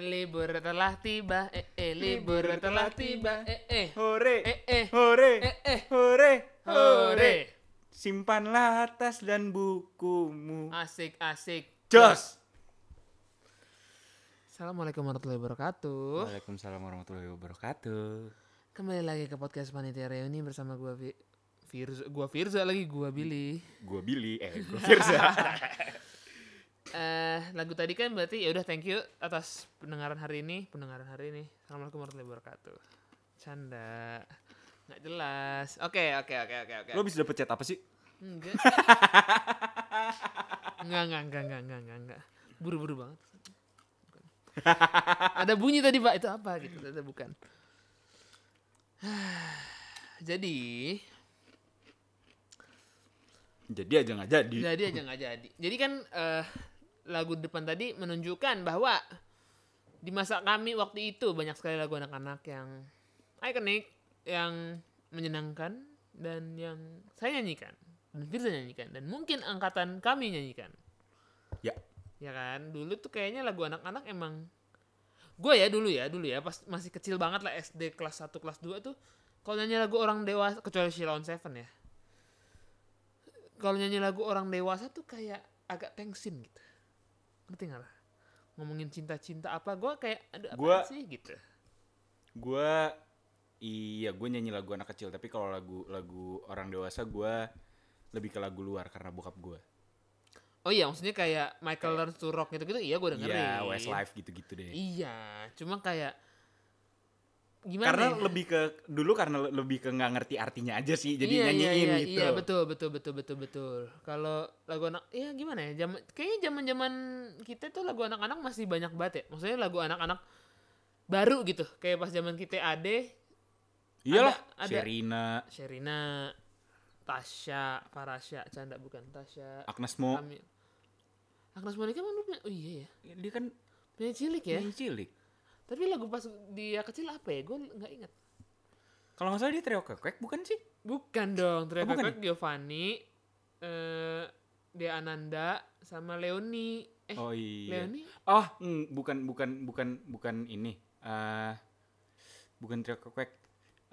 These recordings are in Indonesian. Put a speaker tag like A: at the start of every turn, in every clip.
A: Eh, Libur telah tiba, eh eh libur telah tiba, eh eh
B: Hore,
A: eh eh
B: hore,
A: eh eh
B: hore, hore.
A: hore.
B: Simpanlah tas dan bukumu.
A: Asik asik.
B: Jos.
A: Assalamualaikum warahmatullahi wabarakatuh.
B: Waalaikumsalam warahmatullahi wabarakatuh.
A: Kembali lagi ke podcast Panitia Reuni bersama gua Vi Firza, gua Firza lagi gua Billy.
B: Gua Billy, eh gua Firza.
A: Eh, lagu tadi kan berarti ya udah thank you atas pendengaran hari ini, pendengaran hari ini. Assalamualaikum warahmatullahi wabarakatuh. Canda. Nggak jelas. Oke, oke, oke, oke, oke.
B: Lo bisa dapet chat apa sih?
A: Enggak. enggak, enggak, enggak, enggak, enggak, enggak, enggak. Buru-buru banget. Bukan. Ada bunyi tadi, Pak. Itu apa gitu? Ternyata bukan. jadi,
B: Jadi aja nggak jadi.
A: jadi aja nggak jadi. Jadi kan eh, lagu depan tadi menunjukkan bahwa di masa kami waktu itu banyak sekali lagu anak-anak yang ikonik, yang menyenangkan dan yang saya nyanyikan, dan Firza nyanyikan dan mungkin angkatan kami nyanyikan.
B: Ya.
A: ya kan dulu tuh kayaknya lagu anak-anak emang gue ya dulu ya dulu ya pas masih kecil banget lah SD kelas 1 kelas 2 tuh kalau nyanyi lagu orang dewasa kecuali Sheila on Seven ya kalau nyanyi lagu orang dewasa tuh kayak agak tensin gitu ngerti nggak lah ngomongin cinta-cinta apa gue kayak aduh apa
B: Gua-
A: sih gitu
B: Gua iya gue nyanyi lagu anak kecil tapi kalau lagu lagu orang dewasa gua lebih ke lagu luar karena bokap gua.
A: oh iya maksudnya kayak Michael Learns to Rock gitu gitu iya gue dengerin
B: Iya, Westlife gitu-gitu deh.
A: iya cuma kayak gimana
B: karena
A: ya?
B: lebih ke dulu karena le- lebih ke nggak ngerti artinya aja sih jadi
A: Iya,
B: nyanyiin
A: iya, iya,
B: gitu
A: Iya betul betul betul betul betul. Kalau lagu anak, ya gimana ya? Zaman kayaknya zaman zaman kita tuh lagu anak-anak masih banyak banget ya. Maksudnya lagu anak-anak baru gitu. Kayak pas zaman kita Ade,
B: iyalah
A: Ada- ada.
B: Sherina
A: Sherina, Tasya, Parasya, canda bukan Tasya.
B: Agnes Mo
A: Amil. Agnes Monica mana punya? Oh iya ya,
B: dia kan
A: punya cilik ya.
B: nyanyi cilik
A: Tapi lagu pas dia kecil apa ya? Gue nggak ingat.
B: kalau nggak salah dia trio kekek bukan sih
A: Bukan dong,
B: Oh,
A: ternyata
B: bukan
A: kan Giovanni, eh Dea Ananda, sama Leoni. Eh,
B: oh iya
A: Leoni?
B: oh mm, bukan bukan bukan bukan ini eh bukan trio kekek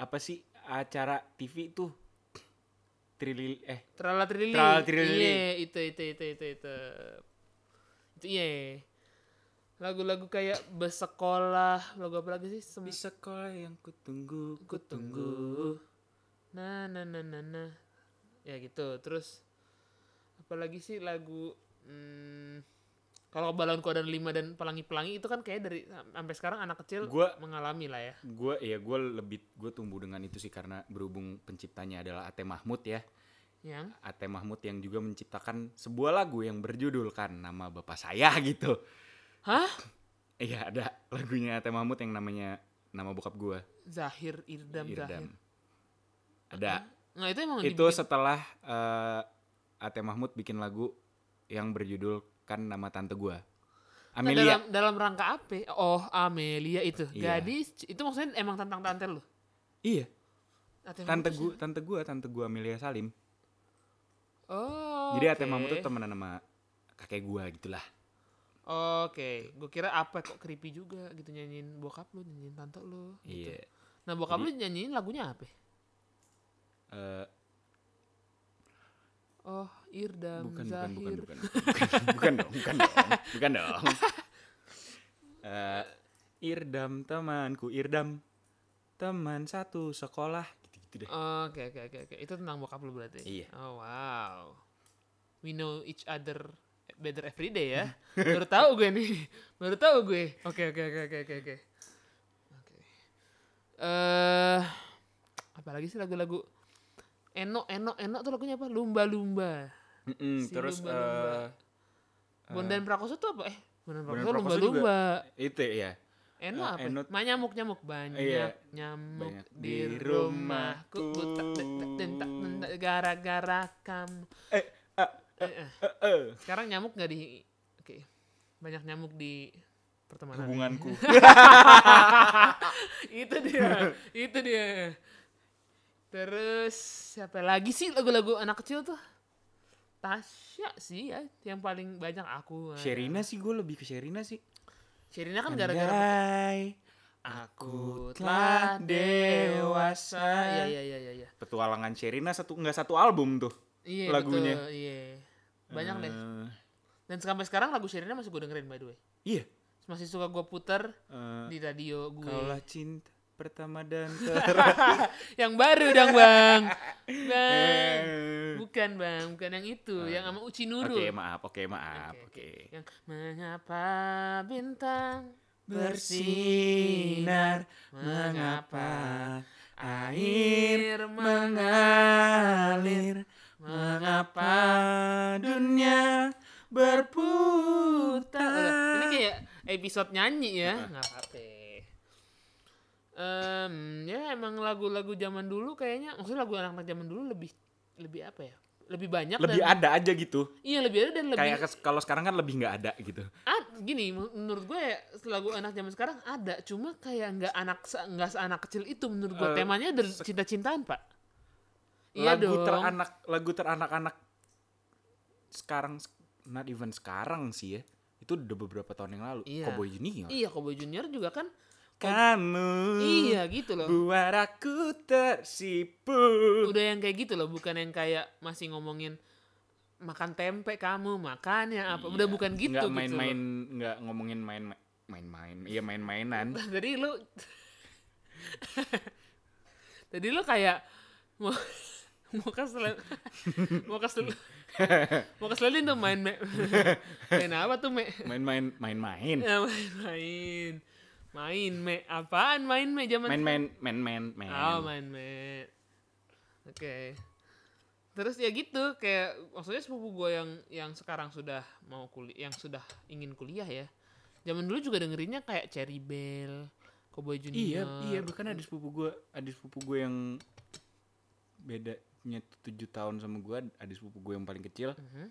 B: apa sih acara TV tuh Trilil eh
A: Trala Trilili.
B: Trala Trilili.
A: Iya, itu, itu, itu, itu, itu. Itu iya. Lagu-lagu kayak Besekolah, lagu apa lagi sih? Sem-
B: di sekolah yang kutunggu
A: Kutunggu. Nah, nah, nah, nah, nah. Ya gitu, terus apalagi sih lagu hmm, kalau balon kodan 5 dan pelangi-pelangi itu kan kayak dari sampai sekarang anak kecil
B: Gua-
A: mengalami lah ya.
B: gue ya gue lebih gue tumbuh dengan itu sih karena berhubung penciptanya adalah Ate Mahmud ya
A: Yang
B: Ate Mahmud yang juga menciptakan sebuah lagu yang berjudulkan nama bapak saya gitu.
A: Hah?
B: Iya ada lagunya Ate Mahmud yang namanya nama bokap gua
A: Zahir Irdam, Zahir.
B: Irdam. Ada.
A: Nah, itu emang
B: Itu
A: dibikin-
B: setelah eh, Ate Mahmud bikin lagu yang berjudulkan nama tante gua
A: Nah,
B: Amelia.
A: dalam dalam rangka apa? Oh, Amelia itu.
B: Iya.
A: Gadis itu maksudnya emang tentang tante lu.
B: Iya,
A: Ate Mahmud
B: tante
A: tuh
B: gua,
A: siapa?
B: tante gua, tante gua Amelia Salim.
A: Oh.
B: Jadi Ate
A: oke.
B: Mahmud tuh temenan sama kakek gua gitulah.
A: Oke, gue kira apa kok creepy juga gitu nyanyiin bokap lu, nyanyiin tante lu gitu.
B: Iya.
A: Nah, bokap
B: Jadi-
A: lu nyanyiin lagunya apa?
B: Eh,
A: Oh, Irdam
B: bukan, bukan,
A: Zahir.
B: bukan, bukan, bukan, bukan dong, bukan dong, bukan dong. Eh, Irdam temanku, Irdam teman satu sekolah, gitu-gitu deh.
A: Oke, oke, oke, oke. Itu tentang bokap lu berarti.
B: Iya.
A: Oh, wow. We know each other better every day ya.
B: Hmm.
A: Baru tahu gue nih. Baru tahu gue. Oke, oke, oke, oke, oke, oke. Oke. Eh, apalagi sih lagu-lagu Eno, Eno, Eno tuh lagunya apa? Lumba-lumba.
B: Mm-mm,
A: Si
B: terus
A: lumba-lumba.
B: eh
A: Bondan Prakoso tuh apa? Eh, Bondan
B: Bondan
A: Prakoso
B: Prakoso juga.
A: lumba-lumba.
B: itu ya,
A: Eno
B: Eh,
A: apa?
B: Eno-
A: Ma nyamuk nyamuk banyak
B: Iya.
A: nyamuk
B: Banyak.
A: di
B: Di
A: rumahku
B: rumahku.
A: Utak, tek, tek, tentak, tentak, gara-gara kamu.
B: eh, ah,
A: Eh, eh.
B: eh, eh,
A: Sekarang nyamuk nggak di oke. Banyak nyamuk di pertemanan.
B: hubunganku.
A: Iya. itu dia. itu dia. Terus siapa lagi sih lagu-lagu anak kecil tuh? Tasya sih ya yang paling banyak aku.
B: Sherina sih, gue lebih ke Sherina sih.
A: Sherina kan gara-gara
B: Andai aku telah dewasa.
A: Iya iya iya iya. iya.
B: Petualangan Sherina satu nggak satu album tuh.
A: Iya
B: Lagunya.
A: betul, Iya. Banyak deh.
B: Eh,
A: Dan sampai sekarang lagu Sherina masih gue dengerin by the way.
B: Iya.
A: Masih suka gue puter
B: Eh,
A: di radio gue.
B: Kaulah cinta pertama dan terakhir.
A: yang baru dong bang. Bang. Bukan bang, bukan yang itu, yang sama Uci
B: Eh. Oke
A: Nurul.
B: maaf, oke maaf, oke.
A: Yang mengapa bintang
B: Bersinar mengapa air mengalir mengapa dunia
A: Ini
B: berputar
A: kayak episode nyanyi ya, nggak apa-apa. Em, ya emang lagu-lagu zaman dulu kayaknya, maksudnya lagu anak-anak zaman dulu lebih lebih apa ya? Lebih banyak
B: lebih
A: dan
B: ada aja gitu
A: iya lebih ada dan lebih
B: kayak kes- kalau sekarang kan lebih nggak ada gitu
A: Ah, gini men- menurut gue ya, lagu anak zaman sekarang ada cuma kayak nggak anak se- nggak anak kecil itu menurut gue
B: Eh,
A: temanya dari cinta-cintaan pak iya
B: lagu
A: dong
B: teranak lagu teranak-anak sekarang not even sekarang sih ya itu udah beberapa tahun yang lalu
A: Iya.
B: Cowboy Junior
A: iya Cowboy Junior juga kan
B: kamu
A: iya gitu loh
B: buat aku tersipu
A: udah yang kayak gitu loh bukan yang kayak masih ngomongin makan tempe kamu makannya apa udah
B: Iya,
A: bukan gitu
B: nggak
A: gitu loh.
B: main-main nggak ngomongin main main-main iya main-mainan
A: tadi lu tadi lu kayak mau mau kesel mau kesel mau keselin tuh main me main apa tuh me
B: main-main main-main
A: Ya, main main main me apaan main me zaman
B: main-main main-main main
A: oh main me oke terus ya gitu kayak maksudnya sepupu gue yang yang sekarang sudah mau kuliah yang sudah ingin kuliah ya zaman dulu juga dengerinnya kayak Cherry Bell Cowboy Junior
B: iya iya bahkan ada sepupu gue ada sepupu gue yang bedanya tujuh tahun sama gue ada sepupu gue yang paling kecil
A: Mhm.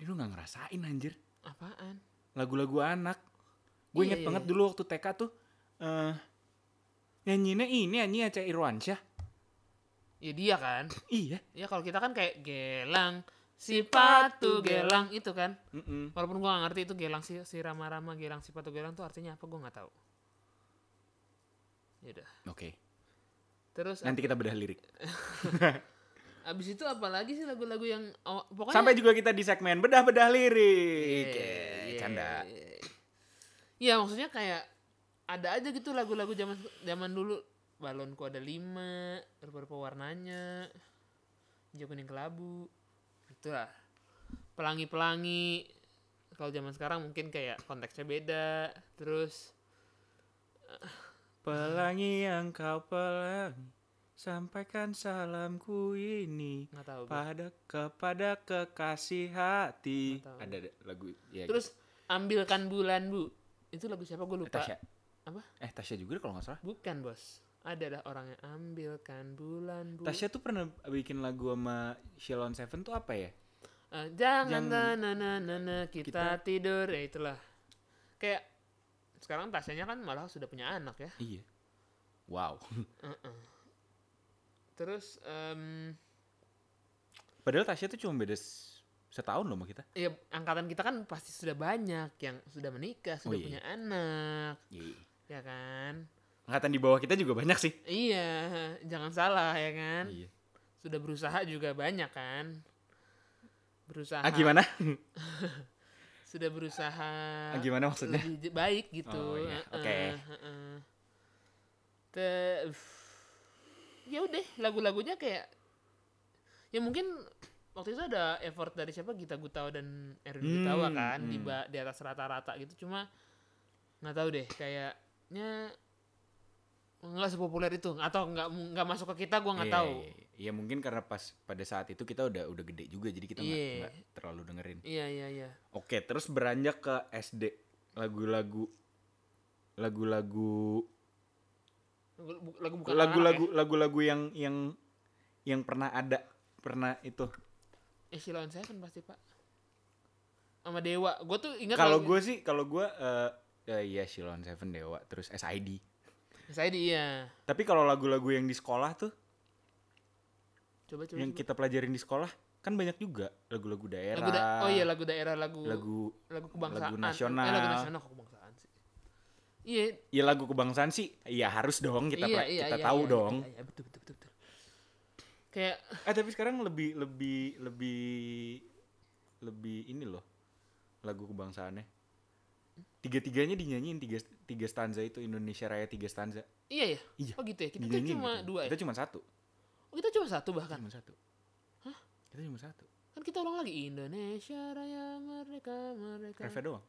B: dia lu nggak ngerasain anjir
A: Apaan?
B: lagu-lagu anak gue
A: Iya,
B: inget
A: iya,
B: banget
A: iya.
B: dulu waktu TK tuh eh nyanyinya ini nyanyi Aca Irwansyah
A: Ya dia kan.
B: iya
A: Ya kalau kita kan kayak gelang si patu gelang itu kan.
B: Mm-mm.
A: Walaupun gua gak ngerti itu gelang si, si rama-rama gelang si patu gelang tuh artinya apa gua nggak tahu. Ya udah.
B: oke
A: Terus
B: nanti kita bedah lirik
A: abis itu apa lagi sih lagu-lagu yang oh, pokoknya
B: Sampai juga kita di segmen bedah-bedah lirik.
A: Iya,
B: Eh,
A: iya,
B: Canda.
A: iya. Iya maksudnya kayak ada aja gitu lagu-lagu zaman zaman dulu balonku ada lima beberapa warnanya hijau kuning kelabu gitu itulah pelangi pelangi kalau zaman sekarang mungkin kayak konteksnya beda terus
B: Pelangi yang kau pelangi, sampaikan salamku ini
A: nggak tahu gua.
B: pada kepada kekasih hati.
A: Nggak tahu.
B: Ada, ada lagu ya.
A: terus ambilkan bulan bu itu lagu siapa gue
B: gitu.
A: lupa
B: Tasya.
A: Apa?
B: Eh Tasya juga kalau nggak salah.
A: bukan bos ada lah orangnya ambilkan bulan bu
B: Tasya tuh pernah bikin lagu sama Shilon Seven tuh apa ya?
A: Eh, jangan
B: Jangan.
A: na na na na kita,
B: Kita-
A: tidur ya itulah kayak sekarang tasnya kan malah sudah punya anak ya
B: Iya. Wow.
A: terus em,
B: Padahal Tasya tuh cuma beda s- setahun loh sama kita.
A: ya angkatan kita kan pasti sudah banyak yang sudah menikah
B: Oh,
A: sudah
B: iya.
A: punya anak
B: Iya.
A: ya kan
B: Angkatan di bawah kita juga banyak sih.
A: iya jangan salah ya kan
B: Iya.
A: sudah berusaha juga banyak kan berusaha
B: Ah gimana?
A: sudah berusaha
B: Ah, gimana maksudnya?
A: lebih j- baik gitu.
B: Oh, iya.
A: Heeh,
B: Oke.
A: heeh. Te- ya udah lagu-lagunya kayak ya mungkin waktu itu ada effort dari siapa Gita Gutawa dan Erwin
B: Hmm,
A: Gutawa kan di
B: hmm.
A: ba- di atas rata-rata gitu cuma nggak tahu deh kayaknya nggak sepopuler itu atau nggak nggak masuk ke kita gua nggak
B: Iya,
A: tahu
B: iya, iya. Iya mungkin karena pas pada saat itu kita udah udah gede juga jadi kita nggak
A: Iya.
B: nggak terlalu dengerin.
A: iya iya iya
B: Oke, terus beranjak ke SD lagu-lagu lagu-lagu
A: lagu, bu- lagu bukan ya?
B: lagu-lagu
A: anak-anak
B: lagu-lagu yang yang yang pernah ada pernah itu.
A: ya. Eh, Sheila on Seven pasti pak sama Dewa gue tuh ingat
B: Kalau
A: lagu-
B: gue sih kalau gue eh eh, iya Shilon Seven Dewa terus SID.
A: Saya di iya.
B: Tapi kalau lagu-lagu yang di sekolah tuh
A: Coba coba.
B: yang
A: coba.
B: kita pelajarin di sekolah kan banyak juga lagu-lagu daerah
A: lagu da- oh iya lagu daerah lagu
B: lagu
A: lagu kebangsaan eh,
B: lagu
A: lagu
B: nasional.
A: nasional kok kebangsaan sih iya
B: ya lagu kebangsaan sih ya harus dong kita
A: iya,
B: pra-
A: iya,
B: kita
A: iya,
B: tahu
A: iya,
B: dong
A: iya, iya, betul betul betul, betul. kayak
B: eh tapi sekarang lebih lebih lebih lebih ini loh lagu kebangsaannya tiga tiganya dinyanyiin tiga tiga stanza itu Indonesia Raya tiga stanza
A: iya ya
B: Iya,
A: oh gitu ya kita kan
B: dinyanyiin
A: cuma
B: gitu.
A: dua ya
B: kita cuma satu
A: oh, kita cuma satu
B: kita
A: bahkan
B: cuma satu kita cuma satu
A: kan kita ulang lagi Indonesia Raya Merdeka Merdeka
B: Reva doang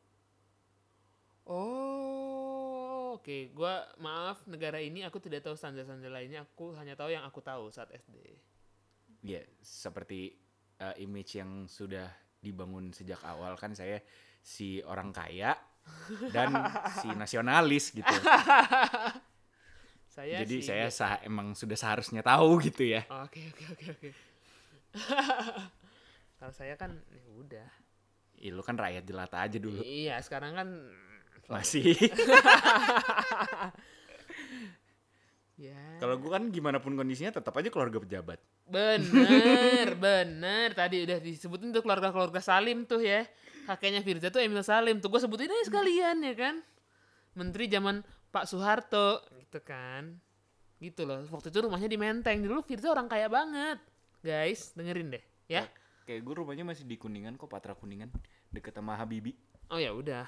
A: oh oke gua maaf negara ini aku tidak tahu standar-standar lainnya aku hanya tahu yang aku tahu saat SD
B: ya seperti uh, image yang sudah dibangun sejak awal kan saya si orang kaya dan si nasionalis gitu
A: saya
B: jadi
A: Iya sih-
B: saya sah- emang sudah seharusnya tahu gitu ya
A: Oke oke oke oke. Kalau saya kan ya udah.
B: Ih, lu kan rakyat jelata aja dulu
A: Iya gitu. sekarang kan
B: masih
A: ya.
B: kalau gue kan gimana pun kondisinya tetap aja keluarga pejabat
A: bener bener tadi udah disebutin tuh keluarga keluarga Salim tuh ya kakeknya Firza tuh Emil Salim tuh gue sebutin aja sekalian ya kan menteri zaman Pak Soeharto gitu kan gitu loh waktu itu rumahnya di Menteng dulu Firza orang kaya banget guys dengerin deh ya
B: kayak gue rumahnya masih di kuningan kok patra kuningan deket sama Habibi
A: Oh ya udah.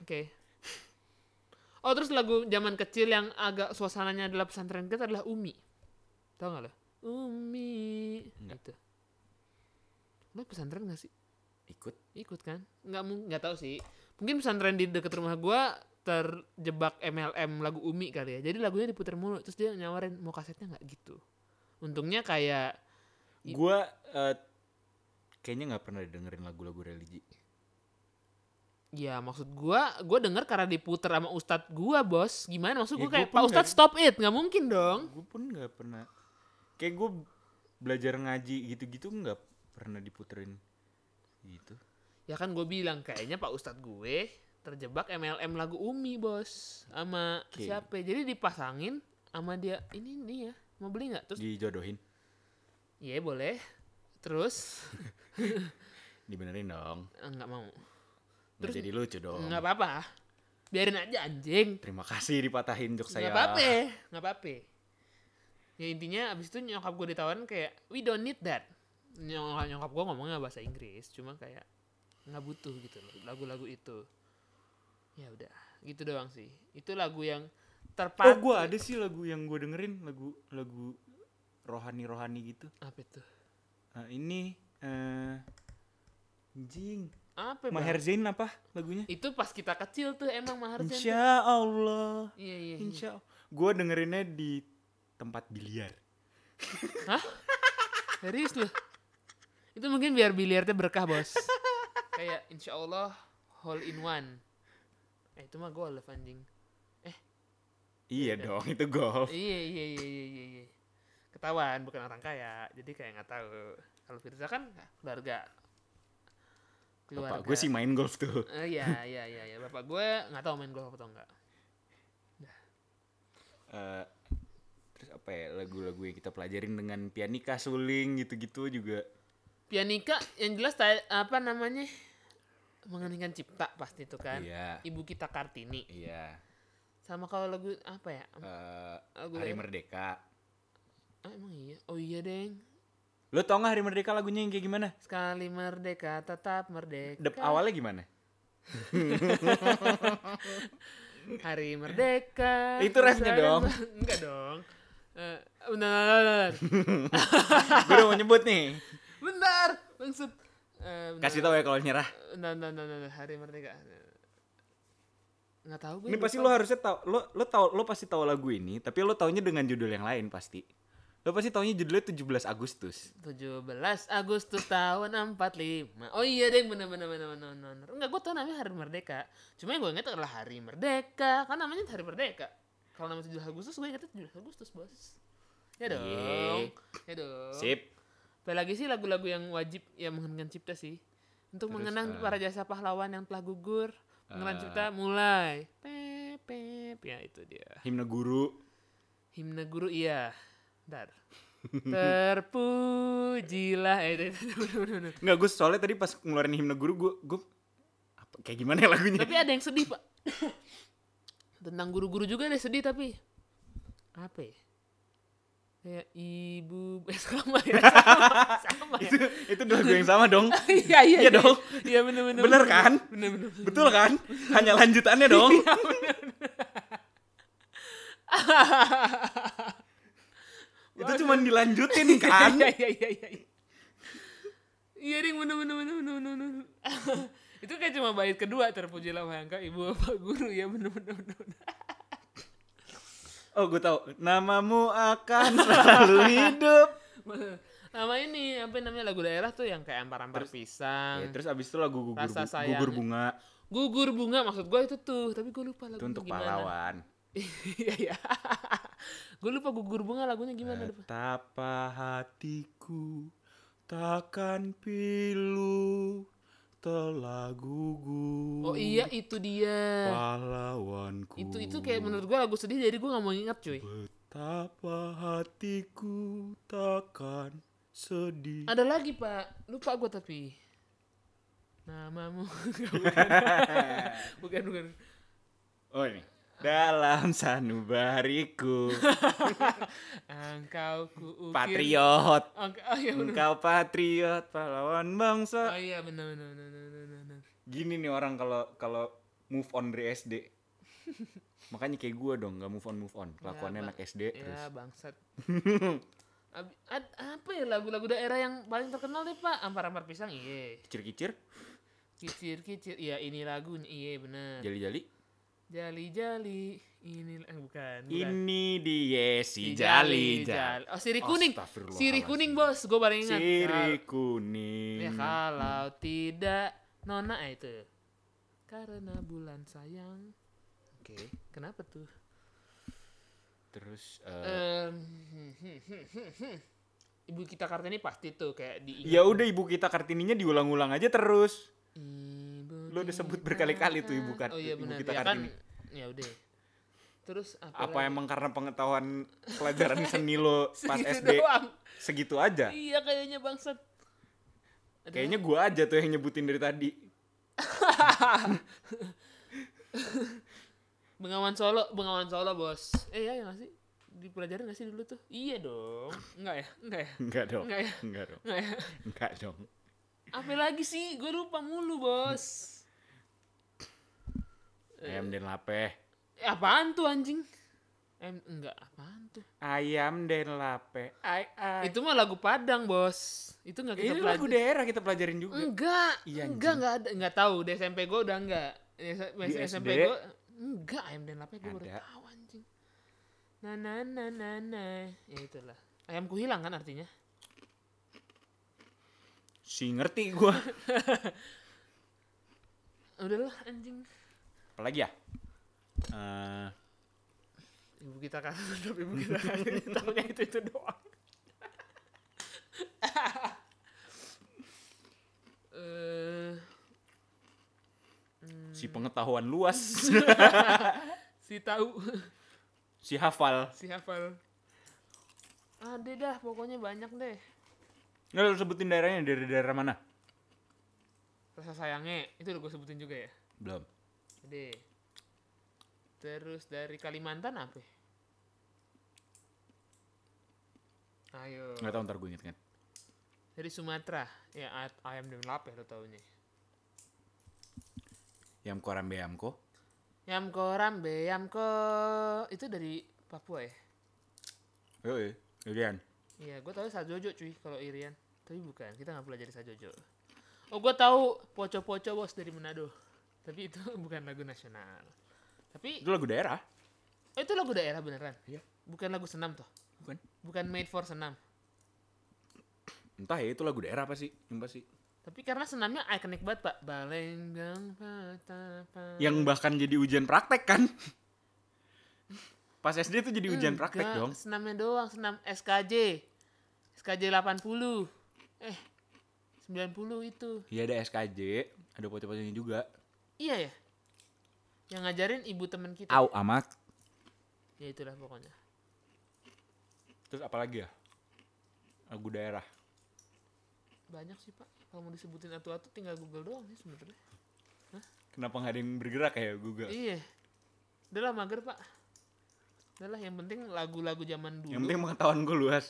A: Oke. Oh terus lagu zaman kecil yang agak suasananya adalah pesantren kita adalah Umi. Tahu nggak lo? Umi.
B: Nggak.
A: Gitu. Lo pesantren gak sih?
B: ikut
A: Ikut kan? Nggak mu- nggak tahu sih. Mungkin pesantren di dekat rumah gua terjebak MLM lagu Umi kali ya. Jadi lagunya diputer mulu terus dia nyawarin mau kasetnya nggak gitu. Untungnya kayak I-
B: gue eh, kayaknya nggak pernah dengerin lagu-lagu religi
A: Ya maksud gua, gua denger karena diputer sama ustadz gua bos. Gimana maksud
B: Ya,
A: gua
B: gua
A: kayak
B: pun
A: Pak
B: nggak-
A: Ustadz stop it, nggak mungkin dong.
B: gue pun nggak pernah kayak gue belajar ngaji gitu-gitu nggak pernah diputerin gitu
A: Ya kan gue bilang kayaknya Pak Ustadz gue terjebak MLM lagu Umi bos sama
B: Oke.
A: siapa? Jadi dipasangin sama dia ini nih ya mau beli nggak? Terus
B: dijodohin
A: iya boleh. Terus
B: dibenerin dong
A: "Eh, nggak mau.
B: nggak
A: Terus-
B: jadi lucu dong
A: Nggak apa-apa. Biarin aja anjing.
B: terima kasih dipatahin jok saya
A: Nggak apa-apa. Nggak apa-apa. Ya intinya abis itu nyokap gue ditawarin kayak we don't need that. Nyokap, nyokap gue ngomongnya bahasa Inggris cuma kayak nggak butuh gitu loh lagu-lagu itu. Ya udah gitu doang sih. Itu lagu yang
B: oh
A: terpadu.
B: gue ada sih lagu yang gue dengerin lagu lagu rohani rohani gitu
A: Apa itu?
B: Nah, ini eh jing
A: Apa ya, Bang?
B: Maher Zain apa lagunya
A: Itu pas kita kecil tuh emang Maher Zain tuh.
B: Insya Allah
A: Iya iya. iya.
B: Insya Allah gue dengerinnya di tempat biliar
A: Serius loh. Itu mungkin biar biliarnya berkah bos. Kayak insya Allah hole in one. Eh itu mah golf anjing.
B: iya dong itu golf
A: Iya iya iya iya iya. iya. Ketahuan bukan orang kaya, jadi kayak nggak tahu. Kalau Firza kan keluarga.
B: Bapak gue sih main golf tuh
A: Eh, Iya iya iya iya. Bapak gue nggak tahu main golf atau enggak.
B: eh terus apa ya lagu-lagu yang kita pelajarin dengan pianika suling gitu-gitu juga
A: Pianika yang jelas ta- apa namanya mengeningkan cipta pasti itu kan.
B: iya
A: Ibu kita Kartini.
B: iya
A: Sama kalau lagu apa ya?
B: Eh,
A: Lagu
B: hari
A: daerah.
B: merdeka
A: Ah, emang iya. Oh iya, Deng.
B: lo tau gak hari merdeka lagunya yang kayak gimana
A: Sekali merdeka tetap merdeka.
B: Dep awalnya gimana
A: Hari merdeka.
B: Eh, Itu
A: besar
B: refnya
A: dan
B: dong.
A: bang- Enggak dong. Eh, benar.
B: gue udah mau nyebut nih
A: Bentar. Maksud eh, bentar,
B: kasih tau ya kalau nyerah
A: Bentar, bentar, bentar, bentar. Hari merdeka. Enggak tahu gue.
B: ini pasti lo
A: lupa.
B: harusnya tau lo lo tau lo pasti tahu lagu ini tapi lo taunya dengan judul yang lain pasti lo pasti taunya judulnya 17 Agustus
A: 17 Agustus tahun 45 Oh iya deh bener bener bener bener bener, bener. Enggak gue tau namanya Hari Merdeka Cuma yang gue inget adalah Hari Merdeka Kan namanya Hari Merdeka Kalau namanya 17 Agustus gue ingetnya 17 Agustus bos Ya
B: Iya.
A: dong
B: Yeay.
A: Ya dong
B: sip
A: Apa lagi sih lagu-lagu yang wajib Ya mengenang cipta sih Untuk
B: Terus,
A: mengenang
B: eh,
A: para jasa pahlawan yang telah gugur Mengenang
B: eh,
A: cipta mulai Pep pep Ya itu dia
B: himne guru
A: Himne guru iya Bentar Terpujilah eh, itu, itu, itu, itu, itu.
B: Nggak, gue soalnya tadi pas ngeluarin himne guru, gue, gue, apa, kayak gimana ya lagunya?
A: Tapi ada yang sedih, Pak. Tentang guru-guru juga deh sedih tapi apa ya? Kayak ibu eh, sama ya. Sama, sama ya.
B: itu, itu lagu yang sama dong.
A: Iya iya
B: Iya dong.
A: Iya benar benar.
B: Bener kan?
A: Benar benar.
B: Betul kan? Hanya lanjutannya dong. itu cuman dilanjutin kan?
A: Iya iya iya iya. iya. Iya ding bener bener bener bener bener. bener. Itu kayak cuma bait kedua terpujilah langkah ibu bapak guru ya bener bener bener. bener.
B: Oh, gue tahu. Namamu akan selalu hidup.
A: Sama ini apa namanya lagu daerah tuh yang kayak ampar-ampar pisang.
B: Ya, terus abis itu lagu gugur,
A: Rasa
B: bu-
A: sayang.
B: gugur bunga
A: Gugur bunga maksud gue itu tuh, tapi gue lupa
B: itu
A: lagunya
B: untuk
A: gimana.
B: pahlawan.
A: Iya iya. gue lupa gugur bunga lagunya gimana Pak?
B: Betapa hatiku takkan pilu telah gugur.
A: Oh iya itu dia.
B: Pahlawanku.
A: Itu itu kayak menurut gue lagu sedih jadi gue nggak mau ingat cuy.
B: Betapa hatiku takkan sedih.
A: Ada lagi pak, lupa gue tapi namamu Nggak, bukan bukan bukan.
B: Oh ini. Dalam sanubariku
A: Engkau ku
B: patriot.
A: oh iya benar.
B: Engkau patriot pahlawan bangsa.
A: Oh iya benar benar benar benar, benar, benar.
B: Gini nih orang kalau kalau move on dari SD. Makanya kayak gue dong nggak move on move on. Kelakuannya
A: Bang.
B: anak SD terus.
A: Ya bangsat. Ab- ad- apa ya lagu-lagu daerah yang paling terkenal deh pak? Ampar-ampar pisang iya.
B: Kicir-kicir,
A: Kicir-kicir iya ini lagunya iya benar.
B: jali-jali.
A: Jali-jali ini eh, bukan. bukan.
B: Ini dia si
A: Jali,
B: jali-jali.
A: jali. Oh sirih kuning.
B: Astagfirullahaladzim.
A: Sirih kuning bos, gue paling ingat.
B: Siri
A: Ya
B: kuning.
A: kalau tidak Nona eh, itu karena bulan sayang. Oke, kenapa tuh?
B: Terus eh,
A: Em, hmm, Ibu kita kartini pasti tuh kayak diingat.
B: ya udah ibu kita kartininya diulang-ulang aja terus.
A: Ibu
B: Lo udah sebut
A: kita-
B: berkali-kali tuh Ibu Kar-
A: Oh iya
B: Ibu
A: benar.
B: kita
A: ya kan
B: Kartini.
A: ya udah. Terus apa?
B: Apa
A: lagi?
B: emang karena pengetahuan pelajaran seni lo pas
A: Segitu
B: SD
A: doang.
B: segitu aja?
A: Iya kayaknya bangsat. Ada
B: Kayaknya gua aja tuh yang nyebutin dari tadi.
A: Bengawan Solo, Bengawan Solo bos. Eh ya, ya nggak sih? Dipelajarin nggak sih dulu tuh? Iya dong. Enggak ya, enggak ya,
B: Enggak dong.
A: Enggak ya?
B: Enggak dong.
A: enggak ya.
B: Enggak dong.
A: Apa lagi sih? Gue lupa mulu bos.
B: Ayam dan lape.
A: Eh, apaan tuh anjing? Em, enggak apaan tuh?
B: Ayam dan lape. Ay, ay.
A: Itu mah lagu Padang bos. Itu nggak kita
B: Ini
A: pelajari.
B: lagu daerah kita pelajarin juga.
A: Enggak,
B: Iya,
A: enggak, enggak ada, enggak tahu. Di SMP gue udah enggak. Di S-
B: Di
A: SMP
B: SD?
A: gue enggak ayam dan lape gue baru
B: Ada.
A: tahu anjing. Na na na na na. Ya itulah. Ayamku hilang kan artinya.
B: Si ngerti gua.
A: Udahlah anjing.
B: Apalagi ya? Eh,
A: Ibu kita kan tapi ibu kita kan tahunya itu itu doang. Eh,
B: si pengetahuan luas,
A: si tahu,
B: si hafal.
A: si hafal. Ada dah, pokoknya banyak deh.
B: Nggak lu sebutin daerahnya dari daerah mana?
A: Rasa sayangnya itu udah gue sebutin juga ya.
B: Belum.
A: Gede. Terus dari Kalimantan apa? Ayo.
B: Nggak tahu ntar gue inget kan.
A: Dari Sumatera, ya ay- ayam dan lape lo taunya.
B: Yam korambe yamko.
A: Yamko rambe yamko itu dari Papua ya.
B: Yoi. Irian.
A: Iya, gue tahu sajojo cuy kalau Irian. Tapi bukan, kita nggak pelajari sajojo. Oh, gue tahu poco-poco bos dari Manado. Tapi itu bukan lagu nasional. Tapi
B: Itu lagu daerah.
A: oh, itu lagu daerah beneran.
B: Iya.
A: Bukan lagu senam toh.
B: Bukan.
A: Bukan made for senam.
B: Entah ya itu lagu daerah apa sih? Sumpah sih.
A: Tapi karena senamnya ikonik banget, Pak. Balenggang patapa.
B: Yang bahkan jadi ujian praktek kan? Pas SD itu jadi ujian praktek
A: Enggak,
B: dong.
A: Senamnya doang, senam SKJ. SKJ 80. Eh, 90 itu.
B: Iya ada SKJ, ada poco-poconya juga.
A: Iya ya? Yang ngajarin ibu temen kita.
B: Au amat.
A: Ya itulah pokoknya.
B: Terus apa lagi ya? lagu daerah.
A: Banyak sih pak. Kalau mau disebutin atu-atu tinggal Google doang sih sebenarnya.
B: Kenapa nggak ada yang bergerak ya Google?
A: Iya. Udah lah mager pak. Udah lah yang penting lagu-lagu zaman dulu.
B: Yang penting pengetahuan gue luas.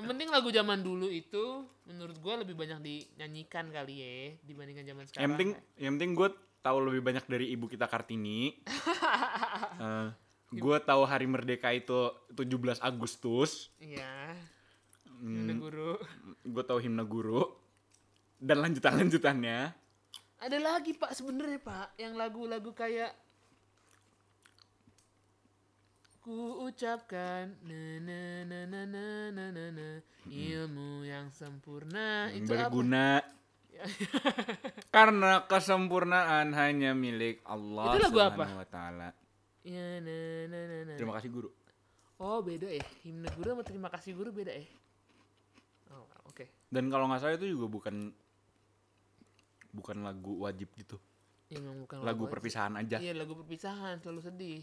A: Yang penting lagu zaman dulu itu menurut gua lebih banyak dinyanyikan kali ya dibandingkan zaman sekarang.
B: yang penting,
A: ya?
B: yang penting gue tahu lebih banyak dari ibu kita kartini. Eh, gue tahu hari merdeka itu 17 Agustus.
A: Iya.
B: Hmm,
A: Yaudah, guru.
B: gue tahu himne guru dan lanjutan lanjutannya.
A: Ada lagi pak sebenarnya pak yang lagu-lagu kayak ku ucapkan na na na na na na na, na. ilmu yang sempurna Nah,
B: yang
A: itu apa?
B: berguna. Karena kesempurnaan hanya milik Allah
A: Itu lagu apa?
B: Subhanahu wa taala.
A: Ya, na, na, na, na.
B: Terima kasih guru.
A: Oh beda ya himne guru sama terima kasih guru beda ya. Oh oke.
B: Dan kalau nggak salah itu juga bukan bukan lagu wajib gitu.
A: Ya, memang bukan
B: Lagu
A: wajib.
B: perpisahan aja.
A: Iya lagu perpisahan selalu sedih.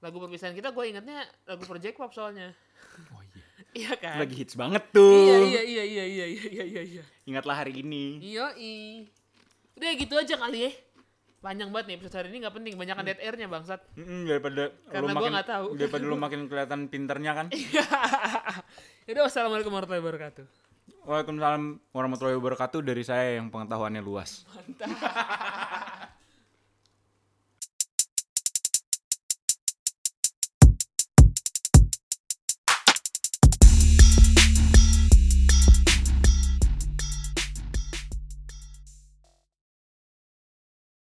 A: Lagu perpisahan kita gue ingatnya lagu per J-pop soalnya.
B: Oh iya.
A: iya kan?
B: Lagi hits banget
A: Iya
B: tuh.
A: iya iya iya iya iya iya iya.
B: Ingatlah hari ini.
A: Yoi. Udah gitu aja kali ya. Panjang banget nih episode hari ini nggak penting banyak dead airnya bangsat.
B: Mm-mm, daripada
A: Karena
B: lu
A: gua
B: makin
A: nggak tahu.
B: daripada lu makin kelihatan pinternya kan.
A: Yaudah wassalamualaikum warahmatullahi wabarakatuh.
B: Waalaikumsalam warahmatullahi wabarakatuh dari saya yang pengetahuannya luas.
A: Mantap.